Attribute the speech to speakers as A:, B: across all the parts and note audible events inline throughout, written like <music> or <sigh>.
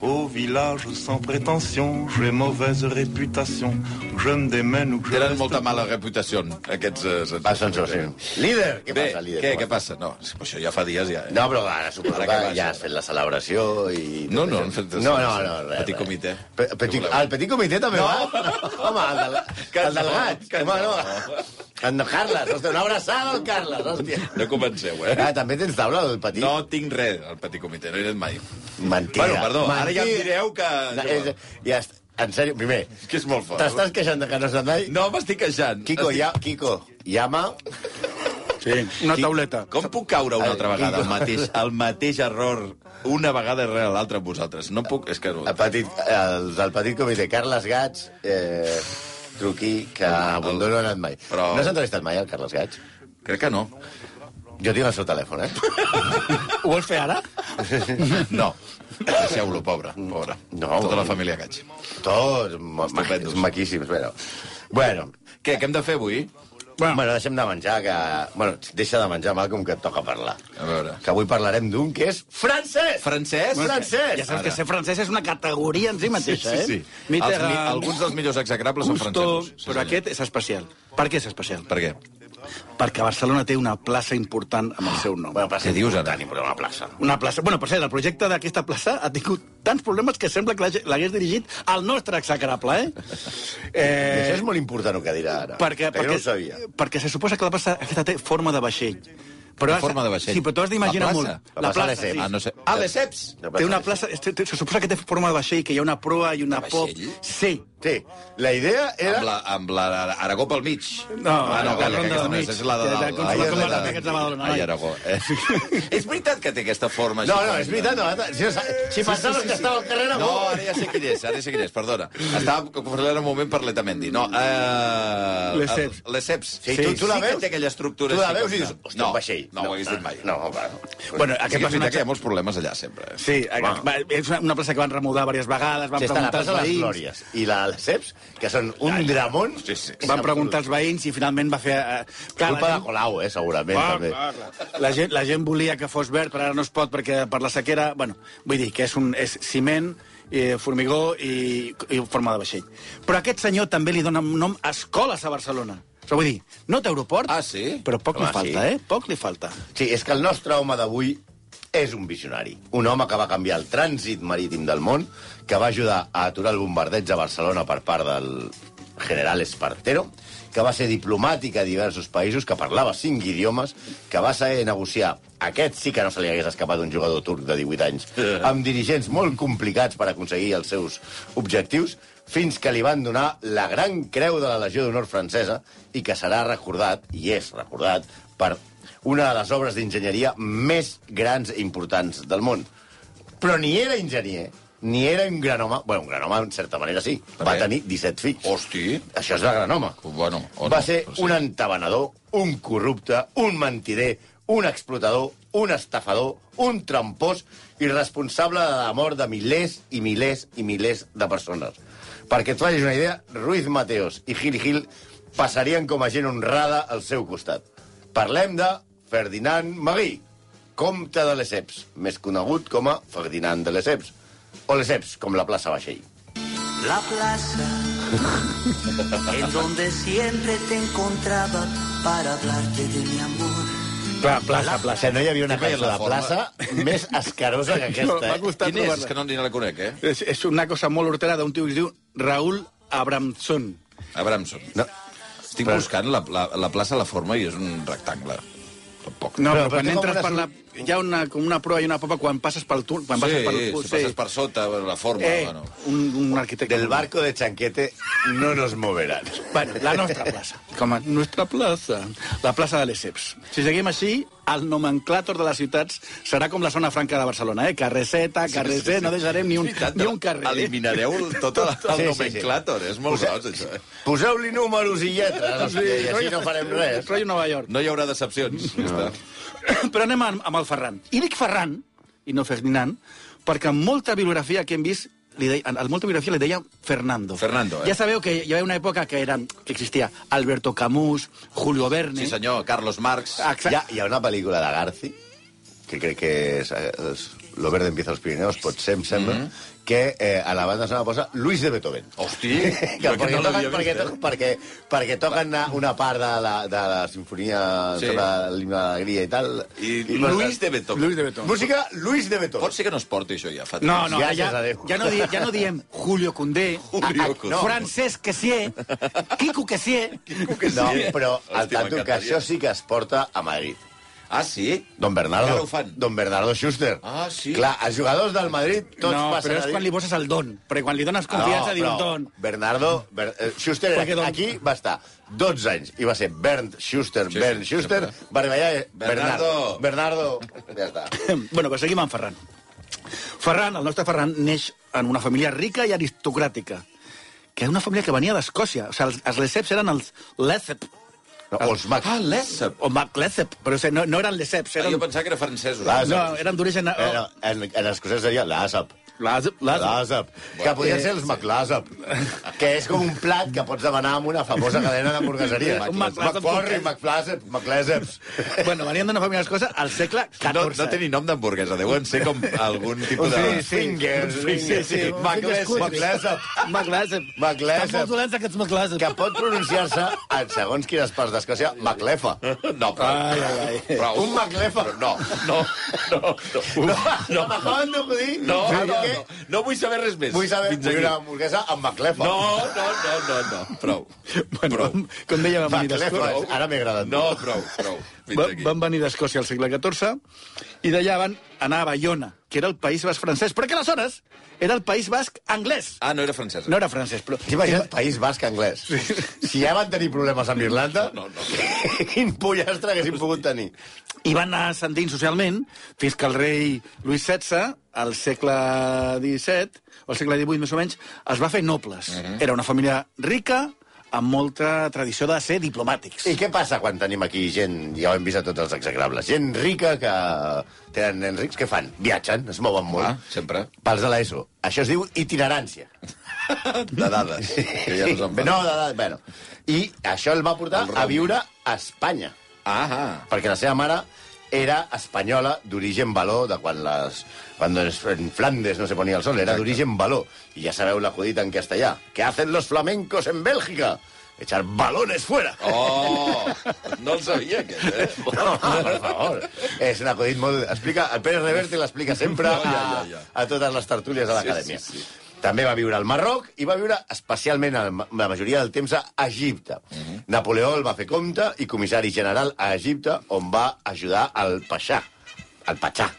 A: Au village sans prétention, j'ai mauvaise réputation. Je me démène ou je...
B: Tenen
A: reste-
B: molta mala reputació, aquests... Eh, sense-
C: Va, sensació. Líder! Què
B: Bé,
C: passa, líder?
B: què, què passa? No, sí, però això ja fa dies, ja. Eh?
C: No, però ara suposo
B: Ara
C: que
B: què passa?
C: ja has fet la celebració i...
B: No, no, hem fet la
C: No, no,
B: celebració.
C: no. Res,
B: Petit
C: res.
B: comitè.
C: Pe petit,
B: Què voleu?
C: ah, el petit comitè també
B: No.
C: va? Home, el, del,
B: Que
C: el delgat.
B: no, que
C: Home,
B: no.
C: no. En Carles, hòstia, una abraçada al Carles, hòstia.
B: <laughs> No comenceu, eh?
C: Ah, també tens taula, el petit?
B: No tinc res al petit comitè, no he anat mai.
C: Mentida.
B: Bueno, perdó,
C: Mentida.
B: ara ja em direu que...
C: No, és, ja, est- en sèrio, primer,
B: És que és molt fort.
C: t'estàs queixant de que no has anat mai?
B: No, m'estic queixant.
C: Kiko,
B: Estic-
C: ja, Kiko, llama...
D: Sí, una tauleta.
B: Com puc caure una altra
C: Ai,
B: vegada
C: Kiko.
B: el mateix, el mateix error una vegada rere l'altra amb vosaltres? No puc... És que... no.
C: El petit, el, del petit comitè, Carles Gats, eh, truqui, que a Bundó no ha anat mai.
B: Però-
C: No s'ha entrevistat mai, el Carles Gats?
B: Crec que no.
C: Jo tinc el seu telèfon, eh?
D: Ho vols fer ara?
B: No. Deixeu-lo, pobre, pobre.
C: No,
B: Tota la
C: no.
B: família Gaig.
C: Tots ma-
B: Estupendos.
C: maquíssims, bueno. Bueno,
B: Què, què hem de fer avui?
C: bueno, bueno, deixem de menjar, que... Bueno, deixa de menjar, Malcolm, que et toca parlar.
B: A veure.
C: Que avui parlarem d'un que és francès!
B: Francesc?
C: Francesc!
D: Ja saps que ser francès és una categoria en si mateixa,
B: Sí, sí.
D: eh?
B: Els,
D: Mitterrand,
B: mi, alguns dels millors execrables són
D: Gusto,
B: francesos. Sí,
D: però
B: senyor.
D: aquest és especial. Per què és especial?
B: Per què?
D: Perquè Barcelona té una plaça important amb el seu nom.
C: Bueno, passa
B: Què dius, ara?
C: important, però una plaça.
D: Una plaça... Bueno, per cert, el projecte d'aquesta plaça ha tingut tants problemes que sembla que l'hagi- l'hagués dirigit al nostre execrable,
B: <laughs>
D: eh?
C: I
D: eh
C: això és molt important el que dirà ara.
D: perquè,
C: perquè, no ho sabia.
D: perquè se suposa que la plaça aquesta té forma de vaixell.
B: Té
D: has-
B: forma de vaixell.
D: Sí, però t'ho has d'imaginar
B: La
D: molt.
B: plaça?
C: La plaça de
D: sí.
C: Ceps.
B: Ah, no sé.
C: Ah,
B: Ah, les ceps!
D: Té una plaça... té- té- Se suposa que té forma de vaixell, que hi ha una proa i una
B: De
D: pop.
B: vaixell?
D: Sí.
C: Sí, la idea era...
B: Amb la, amb la Aragó pel mig.
D: No,
B: ah, no,
D: la
B: calla, que
D: ronda
B: aquesta
D: del
B: no és,
D: mig.
B: és la de
D: Ja, ja,
B: dalt.
D: com
B: Ai,
C: la
B: és
C: ronda
B: la
C: de
D: aquests de Badalona,
B: Ai,
D: noi.
B: Aragó. Eh? <laughs> és veritat que té aquesta forma.
C: No,
B: així
C: no,
B: com-
C: és veritat, no. Si, si pensaves que estava al carrer,
B: No, ara ja sé quin és, ara ja sé quin és, perdona. Estava parlant un moment per l'Etamendi. No, eh...
D: Les Ceps.
B: Les ceps.
C: Sí, tu- tu la
B: sí
C: veus?
B: que té aquella estructura.
C: Tu la
B: així
C: veus
B: com
C: i dius,
B: tal.
C: hòstia,
B: no,
C: un vaixell.
B: No, ho hagués dit mai.
C: No, va, no.
D: Bueno,
B: Sí,
D: aquest
B: que és veritat
D: personatge...
B: que hi ha molts problemes allà, sempre. eh?
D: Sí, eh,
C: Home.
D: va, és una, una plaça que van remodar diverses vegades, van
C: Sí, està la
D: preguntar
C: plaça
D: als
C: de les
D: veïns...
C: Glòries i la de les Ceps, que són un dramón.
B: Sí, sí.
D: Van preguntar als veïns i finalment va fer... Eh, clar,
C: Culpa
D: la
C: de
D: gent-
C: Colau, eh, segurament,
D: Ah,
C: també.
D: clar, clar. La gent, la gent volia que fos verd, però ara no es pot perquè per la sequera... Bueno, vull dir que és, un, és ciment, eh, formigó i, i forma de vaixell. Però aquest senyor també li dona un nom a escoles a Barcelona. Però vull dir, no té aeroport,
B: Ah, sí?
D: però poc
C: Home,
D: li falta,
C: sí.
D: eh? Poc li falta.
C: Sí, és que el nostre home d'avui és un visionari. Un home que va canviar el trànsit marítim del món, que va ajudar a aturar el bombardeig a Barcelona per part del general Espartero, que va ser diplomàtic a diversos països, que parlava cinc idiomes, que va saber negociar aquest sí que no se li hagués escapat un jugador turc de 18 anys, amb dirigents molt complicats per aconseguir els seus objectius, fins que li van donar la gran creu de la Legió d'Honor francesa i que serà recordat, i és recordat, per una de les obres d'enginyeria més grans i importants del món. Però ni era enginyer, ni era un gran home... Bueno, un gran home, en certa manera, sí. Va
B: Bé.
C: tenir 17 fills.
B: Hosti.
C: Això és de gran home.
B: Bueno, o
C: Va
B: no,
C: ser
B: però sí.
C: un entabanador, un corrupte, un mentider, un explotador, un estafador, un trampós i responsable de la mort de milers i milers i milers de persones. Perquè et facis una idea, Ruiz Mateos i Gil Gil passarien com a gent honrada al seu costat. Parlem de Ferdinand Magui, comte de Lesseps, més conegut com a Ferdinand de Lesseps, o Lesseps, com la plaça Vaixell.
E: La plaza en donde siempre te encontraba para hablarte de mi amor.
D: Clar, plaça,
C: O
D: plaça.
C: sigui, no hi havia una
B: Sempre hi ha
C: cançó
B: la
C: de
B: forma.
C: plaça més escarosa que
D: <laughs> No,
C: aquesta,
D: m'ha
C: eh?
D: costat
B: Quin és? És
D: trobar-la.
B: que no, ni no la conec, eh?
D: És, és una cosa molt hortera d'un tio que es diu Raúl Abramson.
B: Abramson.
C: No.
B: Estic
C: Però-
B: buscant la, la, la plaça La Forma i és un rectangle. Tampoc.
D: No,
C: Però- però
D: però, quan
C: té com
D: entres
C: una
D: per la... Hi ha una, com una proa i una popa quan passes pel túnel. Quan
B: sí,
D: passes per,
B: si passes per sota, bueno, La Forma...
D: Eh,
B: Bueno.
D: un, un arquitecte.
C: Del barco de Chanquete no nos
D: <laughs>
C: moverán.
D: Bueno, la nostra plaça. Com a nostra plaça. La plaça de l'Esseps. Si seguim així, el nomenclàtor de les ciutats serà com la zona franca de Barcelona, eh? Carrer Zeta, carrer Z, no deixarem ni un, ni un carrer. eh?
B: Eliminareu tot el, el
C: Sí, sí, sí.
B: nomenclàtor. És molt gros, això. eh?
C: Poseu-li números i lletres, hòstia, i així no farem
D: <laughs>
C: res.
D: Rollo Nova York.
B: No hi haurà decepcions. No. Ja està.
D: <coughs> Però anem amb, amb el Ferran. I dic Ferran, i no Ferdinand, perquè en molta bibliografia que hem vist li deia, en en molta biografia li deia Fernando.
B: Fernando, eh?
D: Ja sabeu que hi havia una època que, eren, que existia Alberto Camus, Julio Verne...
B: Sí, senyor, Carlos Marx.
C: Hi
D: Exacte.
C: ha, hi ha una pel·lícula de Garci, que crec que és, és Lo verde empieza a los Pirineus, potser, em sembla, mm -hmm.
D: Mm-hmm.
C: que eh, a la banda sonora posa Luis de Beethoven.
D: <laughs>
B: Hosti,
C: que
B: jo aquest
C: perquè,
B: no
C: toquen,
B: l'havia vist,
C: perquè,
B: eh?
C: toquen, perquè, perquè toquen una- una part de la, de la sinfonia
B: Sí.
C: sí. sobre l'himne de l'alegria i tal.
B: I Luis de Beethoven.
D: Luis de Beethoven.
C: Música Luis de Beethoven.
B: Pot ser que no es porti això ja fa temps.
D: No, no,
C: Gràcies
D: ja,
C: a Déu.
D: ja, no diem, ja no diem Julio Condé,
B: Julio
D: ah, ah,
B: Condé.
D: Francesc Cassier, Quico Cassier...
C: No,
B: eh?
C: però al
B: Hòstia,
C: tanto que
B: m'encantaria.
C: això sí que es porta a Madrid.
B: Ah, sí?
C: Don Bernardo.
B: Encara ho fan.
C: Don Bernardo Schuster.
B: Ah, sí?
C: Clar, els jugadors del Madrid tots
D: no,
C: passen
D: però
C: a
D: és
C: dir...
D: quan li poses el don. Perquè quan li dones confiança, no, diu
C: però
D: don.
C: Bernardo... Ber... eh, Schuster era-
D: Perquè don-
C: aquí va estar 12 anys i va ser Bernd Schuster,
B: Sí, sí,
C: Bernd Schuster,
B: sempre.
C: va arribar allà... i-
B: Bernardo.
C: Bernardo... Ja està.
D: <clears throat> bueno, però seguim amb Ferran. Ferran, el nostre Ferran, neix en una família rica i aristocràtica, que és una família que venia d'Escòcia. O sigui, els, els Lesseps eren els Lessep,
C: No, els Mac...
B: Ah, l'ESSEP.
D: o Mac Lessep, però o sigui, no, no eren Lesseps,
B: Ah,
D: eren...
B: jo pensava que era francesos.
C: Clar,
D: No, eren d'origen... oh.
C: Eh, no, en, en escocès seria l'Asap.
D: Lessep, Lessep.
C: L'Asap. Que podien ser els McLasap. Que és com un plat que pots demanar amb una famosa cadena d'hamburgueseria.
D: Un McLasap
C: McForri,
D: complet.
C: McFlasep, McLaseps.
D: Bueno, venien d'una família d'Escòcia al segle XIV.
B: No, no té ni nom d'hamburguesa, deuen ser com
D: <laughs>
B: algun tipus de...
C: Sí, sí. Fingers,
D: Sí, sí.
C: McLasep. McLasep.
D: McLessep.
C: McLessep.
D: Estan molt dolents aquests
C: Que
D: McLessep.
C: pot pronunciar-se en segons quines parts d'Escòcia, McLefa.
B: No, però...
D: Ai, ai, ai.
B: Però,
C: Un McLefa.
B: però No, no, no, no.
C: No, no, m'acaben d'acudir.
B: No,
C: Sí,
B: no,
C: que
B: no, no vull saber res més.
C: Vull saber,
B: Fins
C: vull
B: aquí.
C: una hamburguesa amb McLefa.
B: No, no, no, no, no. Prou.
D: Bueno,
B: prou.
D: com dèiem, van venir
C: McLefa,
D: d'Escòcia.
C: ara m'he agradat.
B: No, prou, prou. Fins
D: Va,
B: aquí.
D: van venir d'Escòcia al segle XIV i d'allà van anar a Bayona, que era el país basc francès, perquè aleshores era el país basc anglès.
B: Ah, no era francesa.
D: No era francès, però...
C: T'he imaginat País Basc anglès. Si ja van tenir problemes amb Irlanda,
B: No, no.
C: quin pollastre haguessin pogut tenir.
D: I van anar ascendint socialment fins que el rei Lluís XVI, al segle XVII, o al segle XVIII més o menys, es va fer nobles.
C: Mhm.
D: Era una família rica, amb molta tradició de ser diplomàtics.
C: I què passa quan tenim aquí gent, ja ho hem vist a tots els execrables, gent rica que tenen nens rics, què fan? Viatgen, es mouen molt.
B: Ah, sempre.
C: Pels de l'ESO. Això es diu itinerància.
B: De dades. Que ja no,
C: no, de, de, bueno. I això el va portar
B: El roaming.
C: a viure a Espanya.
B: Ah,
C: perquè la seva mare era espanyola d'origen való, de quan les... Quan es- en Flandes no se ponia el sol, era d'origen való. I ja sabeu l'acudit en castellà. ¿Qué hacen los flamencos en Bèlgica? Echar balones fuera.
B: Oh, no el sabia, aquest, eh? <laughs>
C: No, per favor. És un acudit molt... Explica, el Pérez Reverte l'explica sempre
B: No, ja, ja, ja.
C: A, a totes les tertúlies de
B: Sí,
C: l'acadèmia.
B: sí, sí.
C: També va viure al Marroc i va viure especialment el- la majoria del temps a Egipte.
B: Mhm.
C: Napoleó el va fer comte i comissari general a Egipte, on va ajudar al Paixà, al Patxà,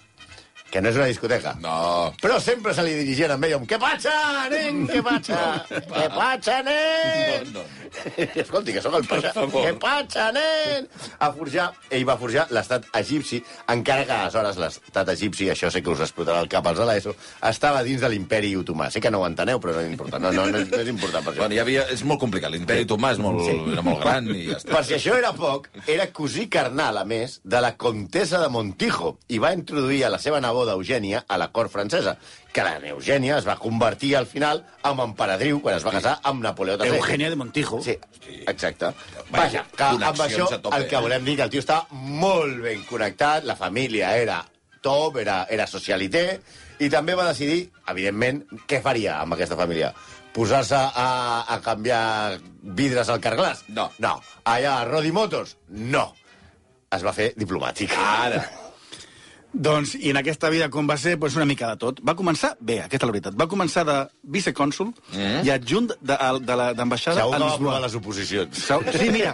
C: que no és una discoteca.
B: No.
C: Però sempre se li dirigien amb ell amb «Què passa, nen? Què passa?
B: <laughs>
C: Què passa, nen?»
B: No, no,
C: <laughs> Escolti, que sóc el paixà.
B: Per favor.
C: Què passa, nen? A forjar, ell va forjar l'estat egipci, encara que aleshores l'estat egipci, això sé que us explotarà el cap als de l'ESO, estava dins de l'imperi otomà. Sé que no ho enteneu, però no és important. No, no, no, és, no és important per això.
B: Bueno, hi havia... És molt complicat. L'imperi Tomàs molt, sí. era molt gran i ja està.
C: Per si això era poc, era cosí carnal, a més, de la comtessa de Montijo i va introduir a la seva neboda Eugènia a la cort francesa, que la Eugènia es va convertir al final en emperadriu quan es va casar amb Napoleó III.
D: Eugènia de Montijo.
C: Sí, exacte.
B: Vaja,
C: Vaja, que amb això
B: connexions a tope,
C: el que
B: eh?
C: volem dir que el tio està molt ben connectat, la família era top, era, era socialité, i també va decidir, evidentment, què faria amb aquesta família. Posar-se a, a canviar vidres al carglàs?
B: No.
C: No. Allà a Rodi Motors? No. Es va fer diplomàtic. <laughs>
B: Ara.
D: Doncs, i en aquesta vida com va ser, doncs una mica de tot. Va començar, bé, aquesta és la veritat, va començar de vicecònsul i adjunt d'ambaixada de, de, la- d'ambaixada
C: Eh? Segur
D: a
C: que va
D: Lisboa.
C: aprovar les oposicions.
D: Segur- Sí, mira,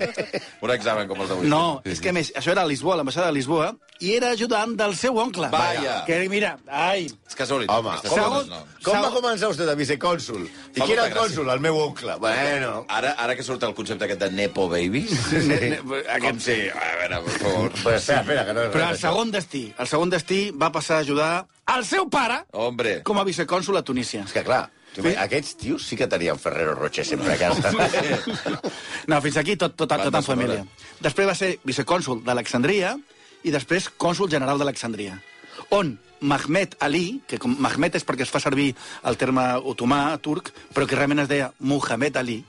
B: Un examen com els d'avui.
D: no, és que a més, això era a Lisboa, l'ambaixada de Lisboa, i era ajudant del seu oncle.
B: Vaja.
D: Que mira, ai,
B: És casualitat.
C: Home,
B: Aquestes
C: com,
B: coses,
D: segon-
C: com va
D: Segur-
C: començar vostè de vicecònsul? I
B: Fa
C: qui era
B: molta
C: el
B: gràcia.
C: cònsul? El meu oncle. Bueno,
B: Ara, ara que surt el concepte aquest de Nepo Babies... <laughs> Com si... A veure, per favor.
C: Però espera, espera, que no és
D: Però
C: res
D: el
C: d'això.
D: segon destí, el segon destí va passar a ajudar al seu pare
B: Hombre.
D: com a vicecònsul a Tunísia.
C: És que, clar, tu,
D: Sí.
C: aquests tios sí que tenien Ferrero Rocher sempre a <laughs> casa.
D: No, fins aquí tot, tot, tot,
B: Banda
D: en família. Després va ser vicecònsul d'Alexandria i després cònsul general d'Alexandria, on Mahmet Ali, que com Mahmet és perquè es fa servir el terme otomà turc, però que realment es deia Muhammad Ali,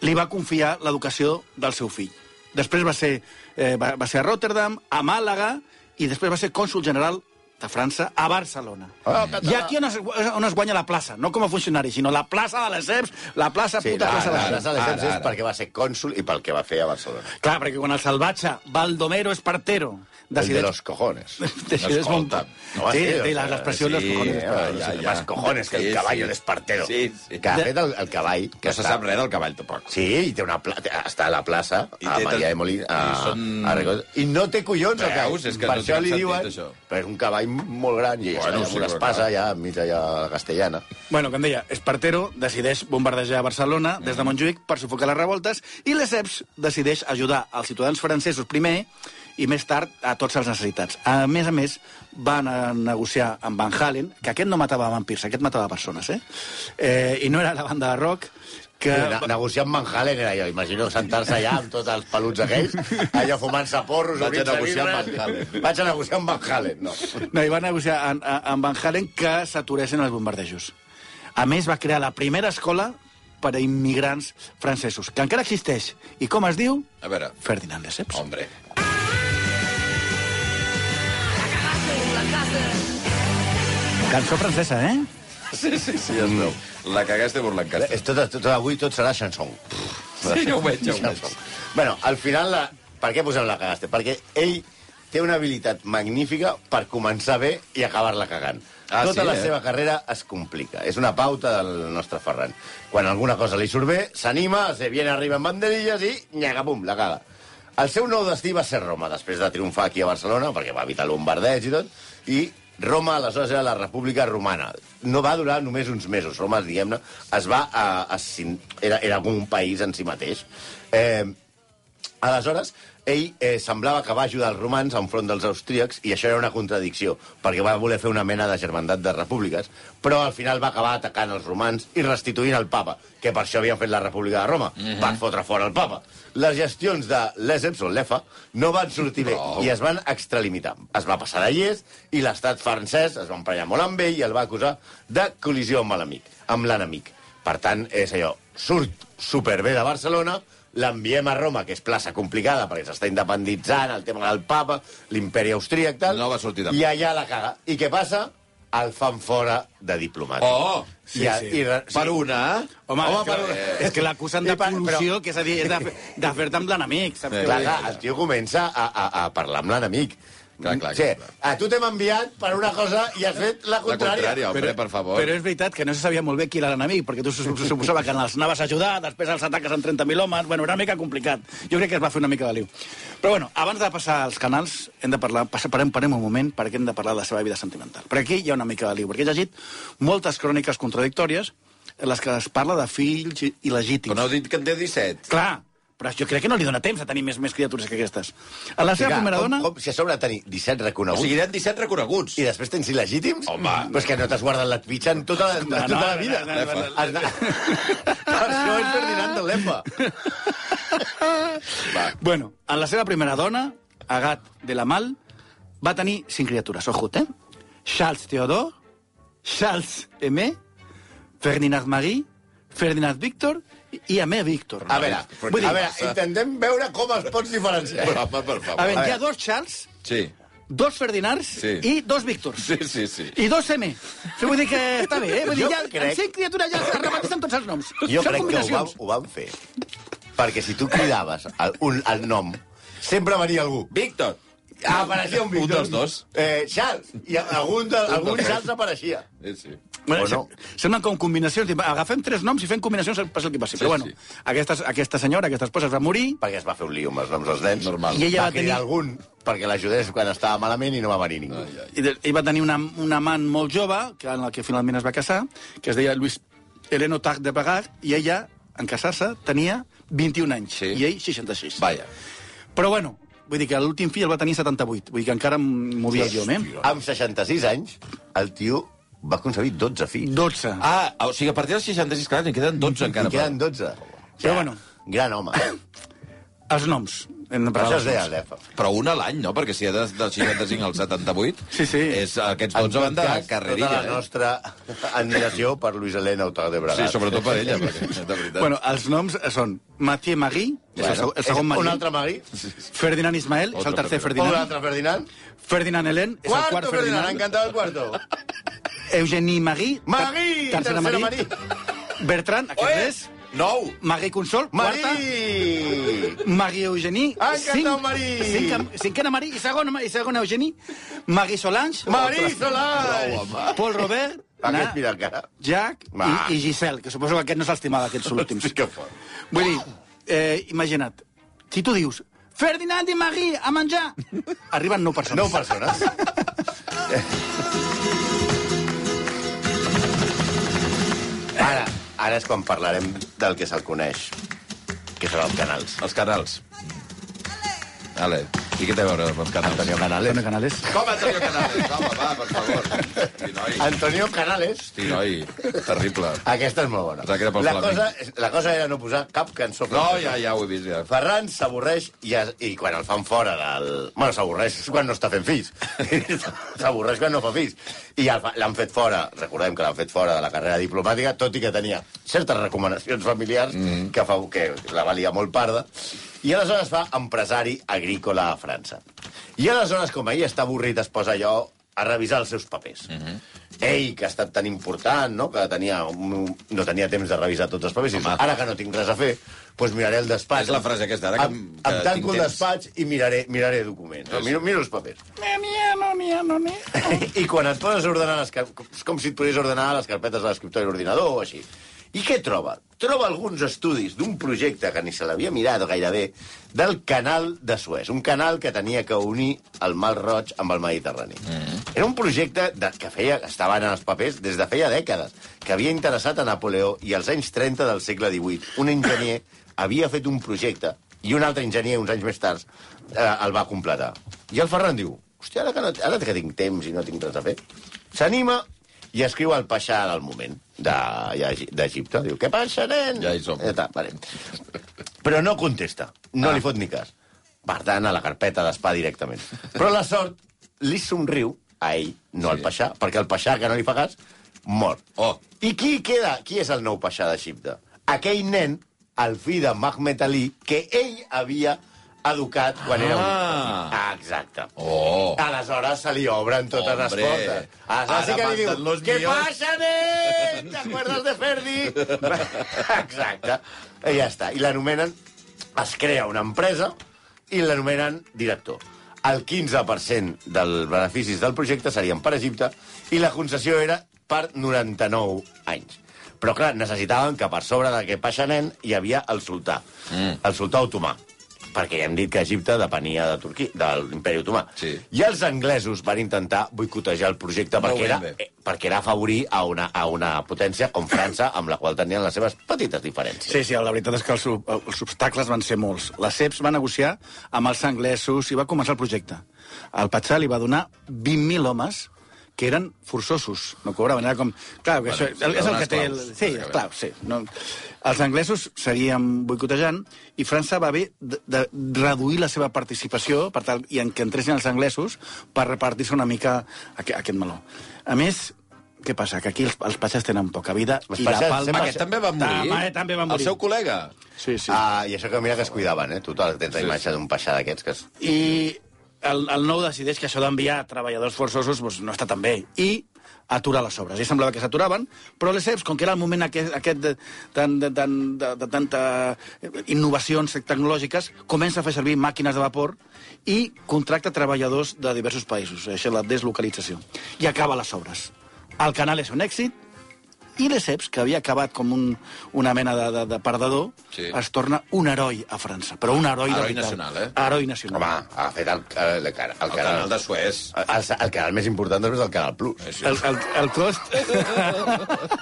D: li va confiar l'educació del seu fill. Després va ser, eh, va, va ser a Rotterdam, a Màlaga, i després va ser cònsul general de França a Barcelona.
C: Ah, <laughs>
D: I aquí on es, on es guanya la plaça, no com a funcionari, sinó la plaça de les EPS, la plaça
C: Sí,
D: puta
C: la,
D: plaça
C: la, Ah, la,
D: de les EPS.
C: plaça de Sants
B: Ara,
C: és
B: ara.
C: perquè va ser cònsul i pel que va fer a Barcelona.
D: Clar, perquè quan el salvatge Baldomero Espartero
C: El de
D: decideix...
C: los cojones. <laughs>
D: decideix
B: Escolta,
D: bon- sí, sí, la- l'expressió sí,
B: sí,
D: dels cojones.
B: eh,
D: però-
B: ja, ja.
C: ja, ja. Más cojones que el
B: Sí,
C: sí, caballo
B: sí.
C: sí. d'Espartero.
B: Sí, sí.
C: Que ha fet el, el cavall. Que
B: No se sap res del cavall, tampoc.
C: Sí, i té una pla... està a la plaça,
B: I
C: a
B: té
C: Maria
B: tot-
C: de Molí, a,
B: i són-
C: a Recolza. I no té collons, el
B: Veus?
C: cavall.
B: És que
C: per
B: no té
C: això
B: cap
C: li
B: sentit,
C: diuen...
B: això.
C: Però és un cavall molt gran, i
B: Bueno, sí,
C: bueno, està amb una
B: però
C: espasa
B: clar.
C: ja, mitja ja castellana.
D: Bueno, com deia, Espartero decideix bombardejar Barcelona des
C: Mm.
D: de Montjuïc per sufocar les revoltes i l'ESEPS decideix ajudar als ciutadans francesos primer i més tard a tots els necessitats. A més a més, van a negociar amb Van Halen, que aquest no matava vampirs, aquest matava persones, eh? eh I no era la banda de rock que...
C: Que... Negociar amb Manhattan era jo. Imagino sentar-se allà amb tots els peluts
B: <laughs>
C: aquells, allà fumant-se porros,
B: Vaig a
C: obrint-se
B: negociar amb
C: vidres.
B: Van Halen.
C: Vaig a negociar amb Van Halen, no.
D: No, i va negociar amb, amb Van Halen que s'aturessin els bombardejos. A més, va crear la primera escola per a immigrants francesos, que encara existeix. I com es diu?
B: A veure,
D: Ferdinand Lesseps.
B: hombre,
D: Cançó francesa, eh?
B: sí, sí, sí, ja es veu. La cagaste por l'encastre.
C: És Eh, tot, tot, avui tot serà chanson.
B: Sí, ja ho veig, ja ho veig.
C: Bueno, al final, la... per què posem la cagaste? Perquè ell té una habilitat magnífica per començar bé i acabar-la cagant.
B: Ah,
C: Tota
B: sí,
C: la
B: eh?
C: seva carrera es complica. És una pauta del nostre Ferran. Quan alguna cosa li surt bé, s'anima, se viene arriba en banderilles i nyaga, pum, la caga. El seu nou destí va ser Roma, després de triomfar aquí a Barcelona, perquè va evitar el bombardeig i tot, i Roma, aleshores, era la república romana. No va durar només uns mesos. Roma, diguem-ne, es va... A, a, era, era un país en si mateix. Eh, Aleshores, ell eh, semblava que va ajudar els romans enfront dels austríacs i això era una contradicció, perquè va voler fer una mena de germandat de repúbliques, però al final va acabar atacant els romans i restituint el papa, que per això havien fet la república de Roma, mm -hmm. per fotre fora el papa. Les gestions de Lesseps, o l'EFA, no van sortir bé
B: No.
C: i es van extralimitar. Es va passar de llest i l'estat francès es va emprenyar molt amb ell i el va acusar de col·lisió amb l'enemic. Amb l'enemic. Per tant, és allò, surt superbé de Barcelona, l'enviem a Roma, que és plaça complicada perquè s'està independitzant, el tema del papa, l'imperi austríac, tal...
B: No va sortir tan
C: I
B: bé.
C: allà la caga. I què passa? El fan fora de diplomat.
B: Oh!
C: I, a-
D: sí, sí.
C: I, re- sí.
B: Per una, eh?
D: Home,
C: Home,
D: Home és,
C: però-
D: que, és que l'acusen de
C: I per- però-
D: col·lusió, que és a dir, és de, de fer-te amb l'enemic, saps?
B: Eh,
D: què
C: Clar,
D: vull dir?
C: clar, el tio comença a, a, a parlar amb l'enemic.
B: Clar, clar,
C: Sí,
B: clar.
C: a tu t'hem enviat per una cosa i has fet la
B: La
C: contrària.
B: contrària, hombre, per favor.
D: Però és veritat que no se sabia molt bé qui era l'enemic, perquè tu sup- suposava que els anaves a ajudar, després els ataques amb 30.000 homes... Bueno, era una mica complicat. Jo crec que es va fer una mica de liu. Però bueno, abans de passar als canals, hem de parlar... Passa, parem, parem un moment, perquè hem de parlar de la seva vida sentimental. Perquè aquí hi ha una mica de liu, perquè he llegit moltes cròniques contradictòries en les que es parla de fills i- il·legítims.
B: Però no heu dit que en té 17.
D: Clar, però jo crec que no li dona temps a tenir més més criatures que aquestes. A la
C: Sí,
D: seva
C: clar,
D: primera
C: com,
D: dona...
C: com, si a sobre de tenir 17
B: O
C: reconeguts...
B: sigui, eren 17 reconeguts.
C: I després tens il·legítims?
B: Home.
C: Però és que no t'has guardat la pitxa en tota, en
D: No,
C: tota
D: no,
C: la
D: no,
C: vida.
D: no, no, no, no.
C: Has de- <laughs> Per això és Ferdinand de l'Epa.
D: Bueno, a la seva primera dona, Agat de la Mal, va tenir cinc criatures, ojut, eh? Charles Theodore, Charles Aimé, Ferdinand Marie, Ferdinand Víctor i Aimé Víctor.
C: A veure,
B: Però
C: vull dir,
B: què
C: a veure,
B: passa?
C: intentem veure com es pots diferenciar.
B: Però, home, per favor.
D: a veure,
C: a
D: hi ha dos Charles,
B: Sí.
D: dos Ferdinands
B: Sí.
D: i dos Víctors.
B: Sí, sí, sí.
D: I dos M. Sí, vull dir que està bé, eh? Vull dir,
C: Jo
D: ja,
C: crec-
D: crec... cinc criatures ja es reparteixen tots els noms.
C: Jo crec
D: Són
C: que ho van,
D: combinacions.
C: ho van fer. Perquè si tu cridaves el, un, el nom, sempre venia algú.
B: Víctor!
C: Apareixia un
B: Un
C: Víctor.
B: dels dos.
C: Eh, Charles. I algun, de, algun
B: dos.
C: Charles apareixia.
B: Sí, sí.
D: Bueno,
C: O no.
D: no. Semblen com combinacions. tipus, Agafem tres noms i fem combinacions, passi el que passi. Sí, Però bueno,
B: sí.
D: sí. aquesta, aquesta senyora, aquesta esposa es va morir,
C: Perquè es va fer un lío amb els noms dels nens.
B: Normal.
D: I ella
C: va,
D: va tenir-
C: cridar algun perquè l'ajudés quan estava malament i no va venir ningú.
B: Ai, ai.
D: I de- ell va tenir una, un amant molt jove, que en el que finalment es va casar, que es deia Luis Heleno Tag de Pagar, i ella, en casar-se, tenia 21 anys,
B: Sí.
D: i ell 66.
B: Vaja.
D: Però bueno, vull dir que l'últim fill el va tenir 78, vull dir que encara em movia el llom, eh?
C: Amb 66 anys, el tio va aconseguir 12 fills.
D: 12. Ah.
B: Ah, o sigui, a partir dels 66, clar, n'hi queden 12
C: I
B: encara.
C: queden 12.
D: Però bueno.
C: Gran home.
D: Els noms. Hem de
C: Però això eh?
D: parlar
C: es
D: dels
C: deia
D: dos.
C: l'EFA.
B: Però un a l'any, no? Perquè si ha de, del 65 al 78...
D: Sí, sí.
B: És, eh, aquests 12 van de carrerilla,
C: tota la nostra admiració per Luis Helena Autag de
B: eh? Sí,
C: Bragat.
B: sobretot per ella, perquè, de veritat.
D: Bueno, els noms són Mathieu Marie, és el, segon, el segon
C: Un
D: Marie,
C: altre Magui.
D: Ferdinand Ismael, és el
B: Otro
D: tercer
C: Un
D: Ferdinand,
C: altre Ferdinand.
D: Ferdinand Helen, és el
C: Cuarto,
D: quart
C: Ferdinand.
D: Ferdinand,
C: Encantado el cuarto.
D: Eugenie Marie, ter-
C: Magui!
D: tercera Marie, Bertran, aquest
B: Oe!
D: és,
B: Nou!
D: Marie Consol, quarta,
C: Magui!
D: Marie Eugenie,
C: Ha encantat,
D: cinc,
C: Marie!
D: cinc, cinquena Marie, i segona, i segona Eugenie, Marie Solange,
C: Marí Solange!
D: Paul Robert,
C: Aquest,
D: Na,
C: mira encara.
D: Jack
C: Va.
D: i, i Giselle, que suposo que aquest no se'ls
C: <laughs>
D: timava, aquests últims.
C: Que fort.
D: Vull dir, eh, imagina't, si tu dius Ferdinand i Marie, a menjar! Arriben nou persones.
C: Nou persones. ara, ara és quan parlarem del que se'l coneix, que són els canals.
B: Els canals. Ale, i què té a veure amb els canals?
C: Antonio Canales.
D: Bueno, Canales.
B: Com Antonio Canales? Home, va, per favor. Hosti, noi.
C: Antonio Canales.
B: Hosti, noi. Terrible.
C: Aquesta és molt bona.
B: Pensava que era pel
C: La
B: flamenc.
C: cosa, la cosa era no posar cap cançó.
B: No, ja, ja ho he vist, ja.
C: Ferran s'avorreix i, es- i quan el fan fora del... Bueno, s'avorreix quan no està fent fills. s'avorreix quan no fa fills. I el fa- l'han fet fora, recordem que l'han fet fora de la carrera diplomàtica, tot i que tenia certes recomanacions familiars mm. que, fa, que la valia molt parda. I aleshores fa empresari agrícola a França. I aleshores, com ahir està avorrit, es posa allò a revisar els seus papers. Mm -hmm. Ell, que ha estat tan important, no? que tenia un, no tenia temps de revisar tots els papers, i diu, ara que no tinc res a fer, doncs miraré el despatx despatx.
B: És la frase aquesta, ara que-
C: Em,
B: que
C: em tanco
B: tinc
C: el
B: temps.
C: despatx i miraré, miraré documents. No?
B: Sí.
C: Miro, miro els
B: <laughs>
C: papers. I quan et poses a ordenar... Les, car- és com si et podies ordenar les carpetes de l'escriptori i l'ordinador o així. I què troba? Troba alguns estudis d'un projecte que ni se l'havia mirat gairebé, del canal de Suez. Un canal que tenia que unir el Mar Roig amb el Mediterrani. Mm. Era un projecte de, que feia, estaven en els papers des de feia dècades, que havia interessat a Napoleó i als anys 30 del segle XVIII. Un enginyer havia fet un projecte i un altre enginyer, uns anys més tard, eh, el va completar. I el Ferran diu, hòstia, ara que, no, ara que tinc temps i no tinc res a fer, s'anima i escriu al Paixà del moment de- d'Egipte. Diu, què passa, nen?
B: Ja hi som.
C: Ja està, vale. Però no contesta, no
B: Ah.
C: ah. li fot ni cas. Per tant, a la carpeta d'espà directament. Però la sort li somriu a ell, no sí. al Paixà, perquè el Paixà, que no li fa cas, mor.
B: Oh.
C: I qui queda? Qui és el nou Paixà d'Egipte? Aquell nen, el fill de Mahmet Ali, que ell havia educat quan era un...
B: Ah.
C: Ah, exacte.
B: Oh.
C: Aleshores se li obren totes Hombre.
B: Hombre.
C: les portes. Aleshores sí
B: Ara
C: que li
B: manten
C: diu,
B: los
C: què
B: guiones".
C: passa,
B: <laughs>
C: nen? T'acuerdas de Ferdi? <laughs> Exacte. I ja està. I l'anomenen... Es crea una empresa i l'anomenen director. El 15% dels beneficis del projecte serien per Egipte i la concessió era per 99 anys. Però, clar, necessitaven que per sobre d'aquest paixanen hi havia el sultà, mm. el sultà otomà, perquè ja hem dit que Egipte depenia de Turquia, de l'imperi otomà.
B: Sí.
C: I els anglesos van intentar boicotejar el projecte
B: Molt
C: perquè
B: ben
C: era,
B: bé.
C: eh, perquè era afavorir a una, a una potència com França, amb la qual tenien les seves petites diferències.
D: Sí, sí, la veritat és que els, ob- els obstacles van ser molts. La CEPS va negociar amb els anglesos i va començar el projecte. El Patxà li va donar 20.000 homes que eren forçosos, no cobraven. Era com... Clar, que això
B: sí,
D: és el
B: donar
D: que té... El...
B: esclaus,
D: Sí,
B: bàsicament.
D: clar, sí. No... Els anglesos seguien boicotejant i França va haver de, de reduir la seva participació per tal, i en que entressin els anglesos per repartir-se una mica aquest, aquest meló. A més, què passa? Que aquí els, els patxes tenen poca vida
C: Els
D: i la
C: patxes
D: palma...
C: sempre-
B: Aquest també va morir.
D: També, eh, també va
B: El
D: morir.
B: seu col·lega.
D: Sí, sí.
C: Ah, I això que mira que es cuidaven, eh? Tu te- tens la imatge d'un paixà d'aquests que... Es...
D: I el, el nou decideix que això d'enviar treballadors forçosos doncs, no està tan bé. I aturar les obres. I semblava que s'aturaven, però les EPS, com que era el moment aquest, aquest de, tan, de, tan, de, de tanta eh, innovacions tecnològiques, comença a fer servir màquines de vapor i contracta treballadors de diversos països. Això és la deslocalització. I acaba les obres. El canal és un èxit, i Lesseps, que havia acabat com un, una mena de, de, de perdedor,
B: Sí.
D: es torna un heroi a França, però un heroi,
B: Heroi
D: de veritat.
B: nacional, eh?
D: Heroi nacional.
C: Home, ha fet el, el, el, el,
B: El
C: canal,
B: canal de Suez.
C: el, el canal més important després del Canal Plus.
D: El, el, el cost...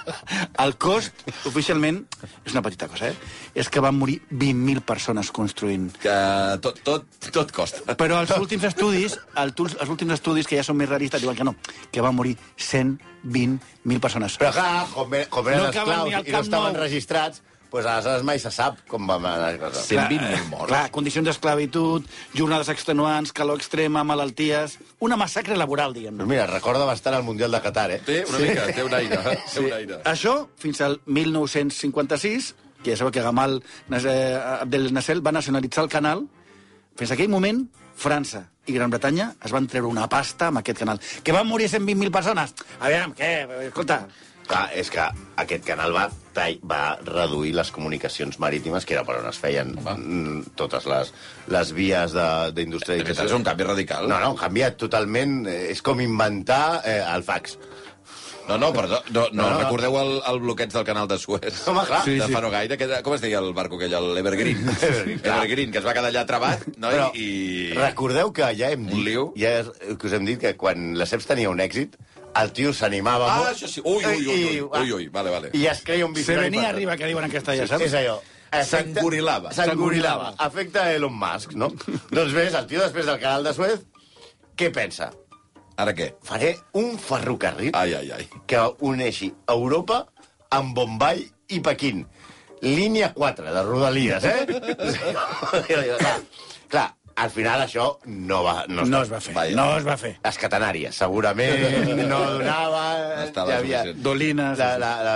D: el cost, oficialment, és una petita cosa, eh? És que van morir 20.000 persones construint.
B: Que tot, tot, tot costa.
D: Però els últims estudis, el, tu- els últims estudis que ja són més realistes, diuen que no, que van morir 120.000 persones.
C: Però clar, com, e- com eren
D: No
C: no
D: caben ni
C: esclaus i
D: al
C: no
D: Camp
C: estaven
D: Nou.
C: registrats, pues aleshores mai se sap com va anar la cosa.
B: 120 mil morts.
D: Clar, condicions d'esclavitud, jornades extenuants, calor extrema, malalties... Una massacre laboral, diguem-ne.
C: Doncs mira, recorda bastant el Mundial de Qatar, eh?
B: Té una mica, té un aire. Té un aire.
D: Això fins al 1956, que ja sabeu que Gamal Nas- eh, Abdel Nasser va nacionalitzar el canal. Fins aquell moment, França i Gran Bretanya es van treure una pasta amb aquest canal. Que van morir 120.000 persones. A veure, què? Escolta,
C: Clar, és que aquest canal va, tall- va reduir les comunicacions marítimes, que era per on es feien mm, totes les, les vies de-
B: Aquest
C: d'industrialització.
B: és un canvi radical.
C: No, no, canviat totalment. Eh, És com inventar eh, el fax.
B: No, no, perdó. No, no,
C: No, no.
B: recordeu el, el bloqueig del canal de Suez?
C: Home, clar.
B: Sí, de fa no gaire. Que, era- com es deia el barco aquell, l'Evergreen?
C: <laughs> Evergreen, clar.
B: Evergreen, que es va quedar allà travat, no?
C: Però
B: I...
C: recordeu que ja hem
B: Un
C: dit,
B: lío.
C: ja és- que us hem dit que quan la Ceps tenia un èxit, el tio s'animava
B: Ah,
C: molt
B: això sí. Ui, ui, ui,
C: i-
B: ui, ui, ui. Vale, vale.
C: I es creia un
D: se
C: visionari.
D: venia
C: per-
D: arriba, que diuen en
C: Sí,
D: castellà,
C: és
D: saps?
C: allò. Efecte-
B: S'engorilava.
C: S'engorilava. Afecta Elon Musk, no? doncs bé, el tio després del canal de Suez, què pensa?
B: Ara què?
C: Faré un ferrocarril
B: Ai, ai, ai.
C: que uneixi Europa amb Bombay i Pequín. Línia 4 de Rodalies, eh? Clar, al final això no va... No,
D: No es va fer,
B: Vaja.
D: no es va fer.
C: Les catenàries, segurament, no donava...
B: No estava
C: hi havia-
B: suficient.
D: Dolines...
C: la, la, la...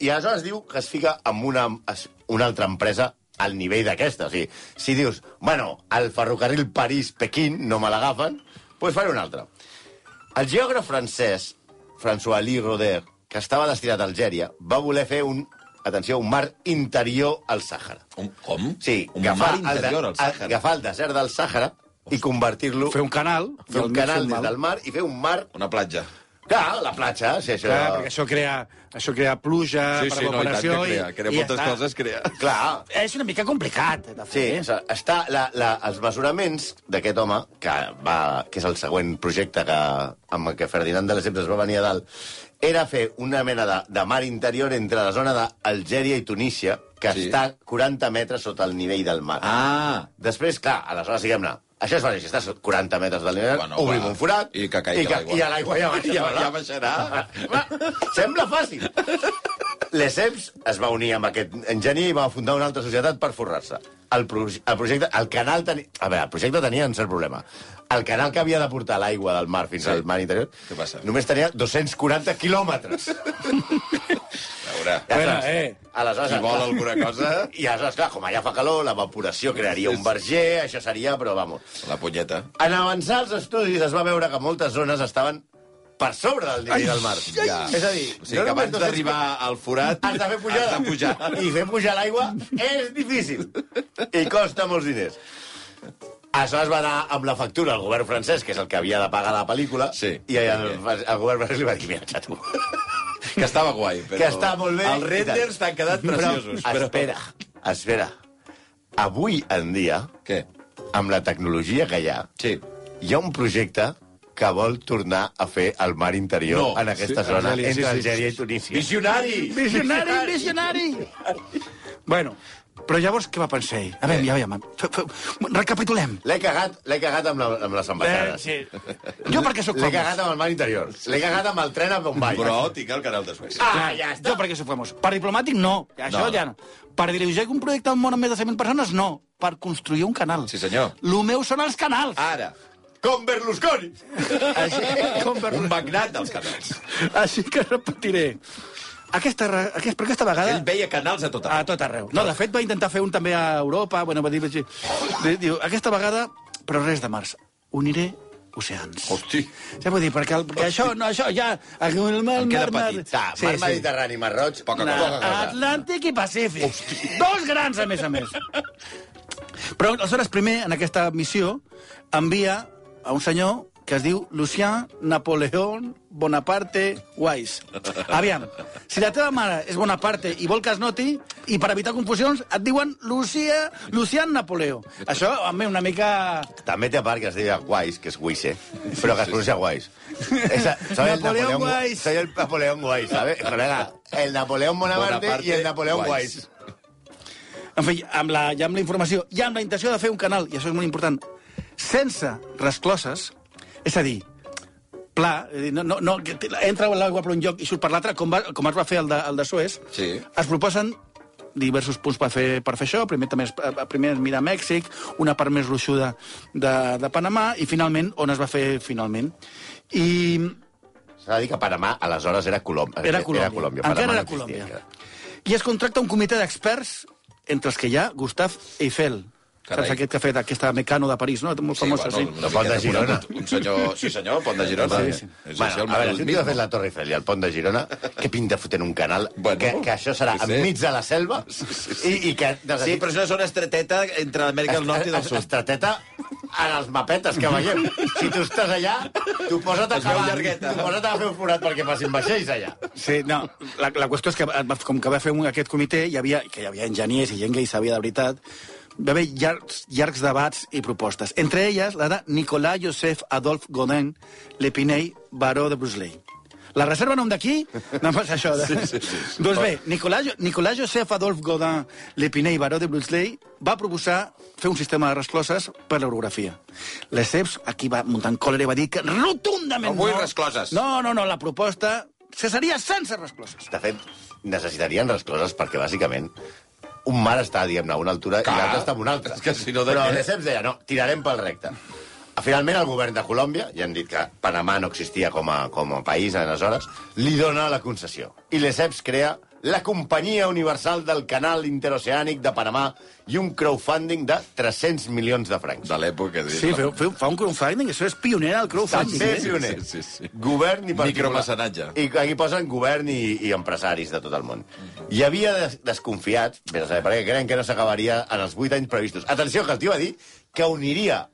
C: I aleshores diu que es fica amb una, es- una altra empresa al nivell d'aquesta. O sigui, si dius, bueno, el ferrocarril París-Pequín no me l'agafen, doncs faré un altre. El geògraf francès, François Lee Roder, que estava destinat a Algèria, va voler fer un, atenció, un mar interior al Sàhara.
B: Un, com?
C: Sí,
B: un mar
C: el de-
B: interior, al Sàhara.
C: agafar el desert del Sàhara i convertir-lo...
D: Fer un canal...
C: fer un
D: del mig
C: canal
D: del
C: des
D: mal.
C: del mar i fer un mar...
B: Una platja.
C: Clar, la platja, si això...
D: Clar, perquè això crea, això crea pluja
B: Sí,
D: Ah, per
B: sí, no, i tant que crea.
D: evaporació...
B: Crea moltes
D: està.
B: coses, crea.
C: Clar,
D: És una mica complicat, de
C: Sí,
D: fer. eh?
C: o sigui, està la, la, els mesuraments d'aquest home, que, va, que és el següent projecte que, amb el que Ferdinand de Lesseps es va venir a dalt, era fer una mena de, de mar interior entre la zona d'Algèria i Tunísia, que
B: Sí.
C: sí. està 40 metres sota el nivell del mar.
B: Ah,
C: Després, clar, aleshores, diguem-ne, això es fa així, si estàs 40 metres del nivell,
B: Bueno,
C: bueno, obrim
B: va.
C: un forat...
B: I que caigui a l'aigua.
C: I a l'aigua ja baixa.
B: <laughs> ja, ja baixarà.
C: <laughs> Va, Sembla fàcil. L'ESEPS es va unir amb aquest enginyer i va fundar una altra societat per forrar-se. El, proj el projecte... El canal teni... A veure, el projecte tenia un cert problema. El canal que havia de portar l'aigua del mar fins
B: Sí.
C: sí. al mar interior
B: Què passa?
C: només tenia 240 quilòmetres.
B: A veure,
D: Bueno,
C: Aleshores-
D: eh,
C: Aleshores,
B: si vol alguna
C: <laughs>
B: cosa,
C: I aleshores, clar, com allà fa calor, l'evaporació crearia un verger, això seria, però vamos.
B: la punyeta.
C: En avançar els estudis es va veure que moltes zones estaven per sobre del nivell del mar.
B: Ja.
C: És a dir,
B: O sigui, que
C: només
B: abans
C: 200
B: d'arribar al forat...
C: Has de fer
B: Has
C: pujada.
B: de pujar.
C: I fer pujar l'aigua és difícil. I costa molts diners. Aleshores va anar amb la factura al govern francès, que és el que havia de pagar la pel·lícula,
B: Sí.
C: i el, el govern francès li va dir, mira, xato,
B: Que estava guai, però...
C: que està molt bé.
B: Els renders t'han quedat preciosos.
C: Però, espera, espera. Avui en dia,
B: Què?
C: amb la tecnologia que hi ha,
B: Sí.
C: hi ha un projecte que vol tornar a fer el mar interior
B: No,
C: en aquesta
D: sí,
C: zona,
D: Algèria, sí,
C: entre
D: sí.
C: Algèria i Tunísia.
B: Visionari!
D: Visionari, visionari! bueno, però llavors què va pensar ell? A veure, ja veiem. F- f- Recapitulem.
C: L'he cagat, l'he cagat amb, la, amb les ambaixades.
D: sí. Jo perquè sóc
C: L'he
D: famós.
C: cagat amb el mar interior. L'he cagat amb el tren a Bombay.
B: Però tinc el canal de Suècia.
C: Ah, ja està.
D: Jo perquè sóc famós. Per diplomàtic, no. Això
B: No.
D: ja no. Per dirigir un projecte al món amb més de 100.000 persones, no. Per construir un canal.
B: Sí, senyor. Ah.
D: Lo meu són els canals.
B: Ara,
C: Com
D: <laughs>
C: Berlusconi!
D: Així, com per...
B: un magnat dels canals.
D: Així que repetiré. Aquesta, re- aquest, per aquesta vegada...
B: Ell veia canals a tot
D: A
B: arreu.
D: tot arreu. No, de fet, va intentar fer un també a Europa, bueno, va dir... així. Di- Diu, aquesta vegada, però res de març, uniré oceans.
B: Hosti.
D: Ja vull dir, perquè, el, perquè això, no, això, ja... El, el, el,
B: queda petit.
C: Ta, sí, Ah, mar Mediterrani, Mar Roig, poca
D: Na-
C: cosa.
D: Atlàntic i Pacífic. Dos grans, a més a més. Però, aleshores, primer, en aquesta missió, envia a un senyor que es diu Lucien Napoleón Bonaparte Wise. Aviam, si la teva mare és Bonaparte i vol que es noti, i per evitar confusions et diuen Lucia, Lucien Napoleó. Això, home, una mica...
C: També té a part que es deia Guais, que és Guise, però que es pronuncia Guais. És a- Soy el
D: Napoleón
C: Napoleón
D: Guais.
C: Guais. Soy el Napoleón Guais, ¿sabes? Colega, el Napoleón Bonaparte
B: Bonaparte
C: i el Napoleón
B: Guais.
C: Guais.
D: En fi, amb la, ja amb la informació, ja amb la intenció de fer un canal, i això és molt important, sense rescloses, és a dir, pla, és a dir, no, no, no, que te- entra l'aigua per un lloc i surt per l'altre, com, va, com es va fer el de, el de Suez,
B: Sí.
D: es proposen diversos punts per fer, per fer això. Primer també es, eh, primer es mira Mèxic, una part més gruixuda de, de Panamà, i finalment, on es va fer finalment. I
C: S'ha de dir que Panamà aleshores era Colòmbia.
D: era Colòmbia.
C: Era Colòmbia.
D: Encara
C: Panamà
D: era
C: no existia
D: Colòmbia.
C: encara.
D: I es contracta un comitè d'experts, entre els que hi ha Gustav Eiffel.
B: Carai.
D: Saps aquest que ha fet aquesta Mecano de París, no? Molt famosa, sí.
B: una
C: De Pont de
B: mica
C: Girona.
B: conegut. Un senyor, sí senyor, Pont de Girona.
D: Sí, sí.
B: És
C: Bueno,
B: el-
C: a veure,
B: el
C: si un dia fet la Torre Eiffel i el pont de Girona, que pinta fotent un canal,
B: Bueno,
C: que, que això serà
B: sí, sí.
C: enmig de la selva, i, i que... Des
B: Sí, però és una zona estreteta entre l'Amèrica del Nord i del Sud.
C: Estrateta en els mapetes que veiem. Si tu estàs allà, tu posa't a
B: Es veu
C: cavar,
B: llargueta.
C: tu posa't a fer un forat perquè passin vaixells allà.
D: Sí, no, la, la qüestió és que va- com que va fer un, aquest comitè, hi havia, que hi havia enginyers i gent que hi sabia de veritat, va haver llargs, llargs debats i propostes. Entre elles, la de Nicolás Joseph Adolf Godin Lepiney, baró de Bruseley. La reserva nom d'aquí? No passa això. De... Sí, sí, sí. Doncs bé, Nicolás, Jo- Nicolás Joseph Adolf Godin Lepiney, baró de Bruseley, va proposar fer un sistema de rescloses per l'orografia. Lesseps, aquí va muntant còlera i va dir que rotundament
B: No vull rescloses.
D: No, no, no, la proposta cesaria sense rescloses.
C: De fet, necessitarien rescloses perquè, bàsicament, un mar està, diguem-ne, a una altura
B: Clar.
C: i l'altre està a una altra.
B: És que si no, de
C: Però
B: què?
C: Lesseps deia, no, tirarem pel recte. Finalment, el govern de Colòmbia, ja han dit que Panamà no existia com a, com a país aleshores, li dona la concessió. I Lesseps crea la Companyia Universal del Canal Interoceànic de Panamà i un crowdfunding de 300 milions de francs.
B: De l'època. dius,
D: Sí, feu, feu, fa un crowdfunding, això és pioner del crowdfunding.
C: També
D: eh?
C: pioner.
B: Sí, sí, sí.
C: Govern i particular.
B: Micromecenatge.
C: I aquí posen govern i, i empresaris de tot el món. Hi havia des desconfiats, bé, no sé, perquè creien que no s'acabaria en els vuit anys previstos. Atenció, que el tio va dir que uniria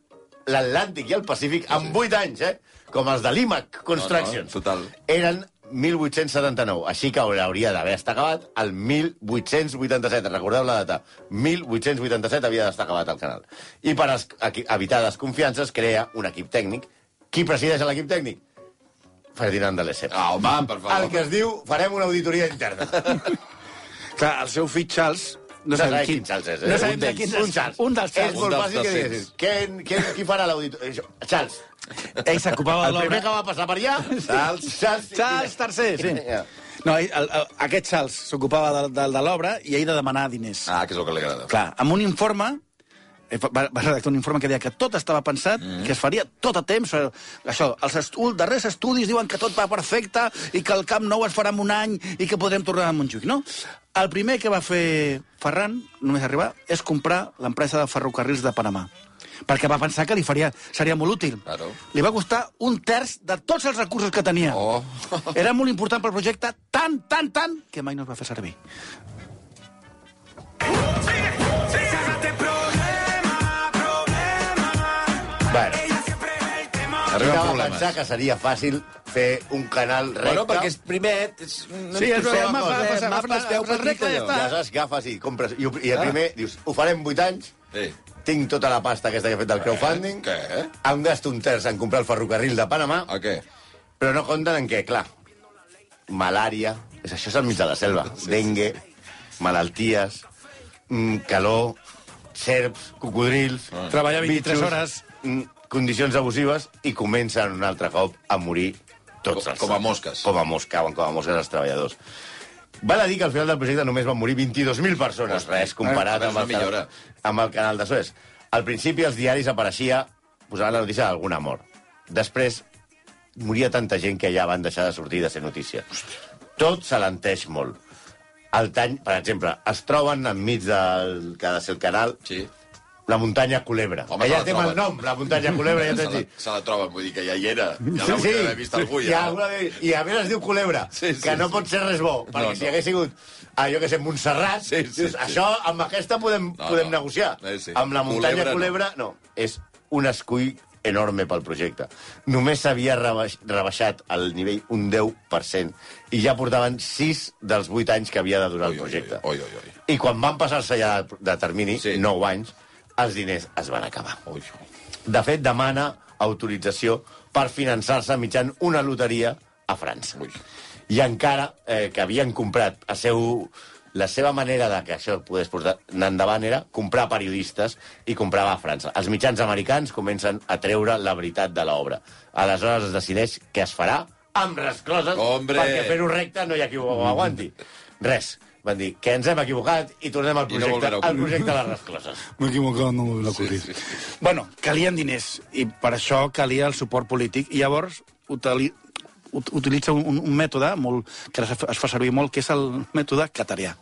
C: l'Atlàntic i el Pacífic en vuit anys, eh? Com els de l'IMAC Constructions.
B: No, no, total.
C: Eren 1879, així que hauria d'haver estat acabat el 1887. Recordeu la data? 1887 havia d'estar acabat el canal. I per es- equi- evitar desconfiances crea un equip tècnic. Qui presideix l'equip tècnic? Ferdinand de Lesseps.
B: Ah, home, per favor.
C: El que es diu, farem una auditoria interna.
D: Clar, el seu fill Charles... No, sabem
C: sabem
D: quin,
C: quin Charles és, eh?
D: No
C: Un
D: sabem de
C: d'ells.
D: quin
C: Un Charles.
D: Un dels
C: És
D: Charles.
C: molt
B: dels
C: fàcil que
B: 200.
C: diguessis. Qui, qui, qui farà l'auditoria? Això, Charles.
D: Ell s'ocupava de
C: El primer
D: l'obra.
C: que va passar per allà, Charles. Charles.
D: Charles III, sí.
C: Ja.
D: No, ell- el, el, aquest Charles s'ocupava de, de, de l'obra i ell de demanar diners.
B: Ah, que és el que li agrada.
D: Clar, amb un informe eh, va, va redactar un informe que deia que tot estava pensat, mm. que es faria tot a temps. eh, Això, els estu darrers estudis diuen que tot va perfecte i que el Camp Nou es farà en un any i que podrem tornar a Montjuïc, no? El primer que va fer Ferran, només arribar, és comprar l'empresa de ferrocarrils de Panamà perquè va pensar que li faria, seria molt útil.
B: Claro.
D: Li va costar un terç de tots els recursos que tenia.
B: Oh.
D: Era molt important pel projecte, tant, tant, tant, que mai no es va fer servir.
C: Bueno,
B: Arriben
C: Arribava a
B: problemes.
C: pensar que seria fàcil fer un canal recte.
B: Bueno, perquè és primet... És...
D: Sí, és
B: Agafes-
D: mapa, agafes-
B: eh,
D: agafes les peus
B: agafes
D: petites,
B: recte, Ah.
D: ja
B: allò.
D: està.
C: Ja saps, agafes i compres. I, ho- i el primer dius, ho farem 8 anys,
B: Sí.
C: tinc tota la pasta aquesta que he fet del crowdfunding,
B: Què?
C: em gasto un terç en comprar el ferrocarril de Panamà,
B: O què?
C: però no compten en què, clar, malària, és això és al mig de la selva, dengue, malalties, mm, calor, serps, cocodrils...
D: Treballar 23
C: bitxos,
D: hores.
C: mm, Condicions abusives i comencen un altre cop a morir tots
B: Com-
C: els...
B: com a mosques.
C: Com a mosca, com a mosques els treballadors. Val a dir que al final del projecte només van morir 22.000 persones.
B: Hosti,
C: Res, comparat
B: eh,
C: amb el,
B: és una millora.
C: canal, amb el canal de Suez. Al principi els diaris apareixia, posaven la notícia d'alguna mort. Després moria tanta gent que ja van deixar de sortir de ser notícia. Tot se l'enteix molt. El tany, per exemple, es troben enmig del que ha de ser el canal
B: Sí.
C: la muntanya Culebra.
B: Home,
C: que
B: se
C: ja
B: la
C: té el
B: troben.
C: nom, la muntanya Culebra, ja
B: Se
C: t'haig <laughs>
B: la,
C: dit.
B: se la troben, vull dir que ja hi era. Ja l'hauria d'haver vist algú,
C: I,
B: ja.
C: alguna vegada- I a més es diu Culebra,
B: Sí, sí,
C: que no
B: sí.
C: pot ser res bo, perquè
B: No,
C: si
B: no.
C: hagués sigut, ah, jo que sé, Montserrat,
B: Sí, sí,
C: dius,
B: sí.
C: això amb aquesta podem,
B: No,
C: podem
B: no.
C: negociar.
B: Eh, sí.
C: Amb la muntanya
B: Culebra, no.
C: Culebra, no. És un escull enorme pel projecte. Només s'havia rebaix, rebaixat el nivell un 10% i ja portaven 6 dels 8 anys que havia de durar
B: Ui,
C: el
B: ui,
C: projecte.
B: ui, ui, ui.
C: I quan van passar-se ja de, de termini,
B: Sí.
C: 9 anys, els diners es van acabar.
B: Ui.
C: De fet, demana autorització per finançar-se mitjan una loteria a França.
B: Ui.
C: I encara eh, que havien comprat a seu... La seva manera de que això pogués portar anar endavant era comprar periodistes i comprava a França. Els mitjans americans comencen a treure la veritat de l'obra. Aleshores es decideix què es farà amb les coses
B: Hombre! Mm.
C: perquè fer-ho recte no hi ha qui ho aguanti. Res, Van dir que ens hem equivocat i tornem al
B: I no
C: projecte,
B: volvereu.
C: al projecte de les rescloses.
D: M'he equivocat, no m'ho l'acordir. Sí, sí, sí. Bueno, calien diners, i per això calia el suport polític, i llavors utili ut- utilitza un, un mètode molt, que es fa- es fa servir molt, que és el mètode catarià.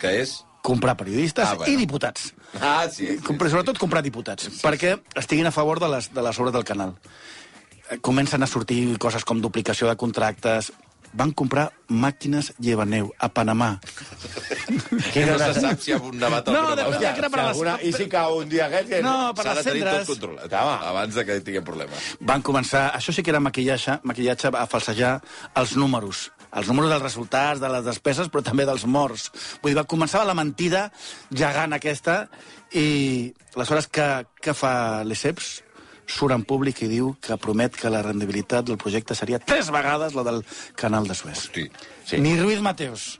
B: Que és...
D: Comprar periodistes
B: Ah,
D: ah,
B: bueno.
D: bueno. i diputats.
B: Ah, sí. sí,
D: Comprar,
B: sí.
D: sobretot comprar diputats, sí, perquè estiguin a favor de les, de les obres del canal. Eh, Comencen a sortir coses com duplicació de contractes... Van comprar màquines llevaneu a Panamà.
B: Que no se sap si hi ha un debat al
D: No,
B: programa.
D: de veritat
B: Hòstia,
D: que era per a les-
C: alguna... I si cau un dia aquest... que-
D: No, per
B: S'ha de
D: les
B: tenir tot
D: cendres...
B: controlat,
C: Home.
B: abans de que tinguem problemes.
D: van començar, això sí que era maquillatge, maquillatge a falsejar els números els números dels resultats, de les despeses, però també dels morts. Vull dir, va començar la mentida gegant aquesta i aleshores que, que fa l'ESEPS? Surt en públic i diu que promet que la rendibilitat del projecte seria tres vegades la del canal de Suez.
B: Hosti,
C: sí.
D: Ni Ruiz Mateos.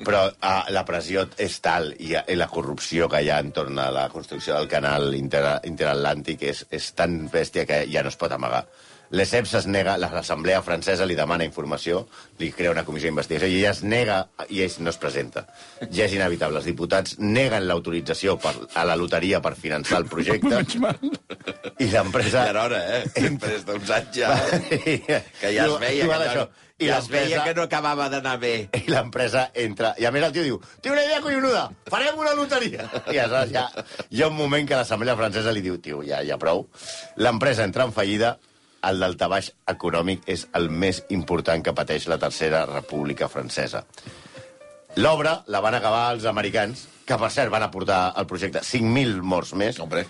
C: Però ah, la pressió és tal i, eh, i la corrupció que hi ha entorn a la construcció del canal inter, interatlàntic és, és tan bèstia que ja no es pot amagar. L'ESEPS es nega, l'assemblea francesa li demana informació, li crea una comissió d'investigació i ella es nega i ell no es presenta. Ja és inevitable. Els diputats neguen l'autorització per- a la loteria per finançar el projecte i l'empresa...
B: Ja
C: <laughs>
B: era hora,
D: <laughs>
B: eh? Després d'uns anys ja... Que ja es veia,
C: Igual
B: que, no,
C: això. I
B: ja es veia
C: l'empresa-
B: que no acabava d'anar bé.
C: i l'empresa entra... I a més el tio diu, té una idea collonuda, farem una loteria. I aleshores ja, hi ha un moment que l'assemblea francesa li diu, tio, ja, ja prou. L'empresa entra en fallida, el daltabaix econòmic és el més important que pateix la Tercera República Francesa. L'obra la van acabar els americans, que per cert van aportar al projecte 5.000 morts més,
B: Hombre.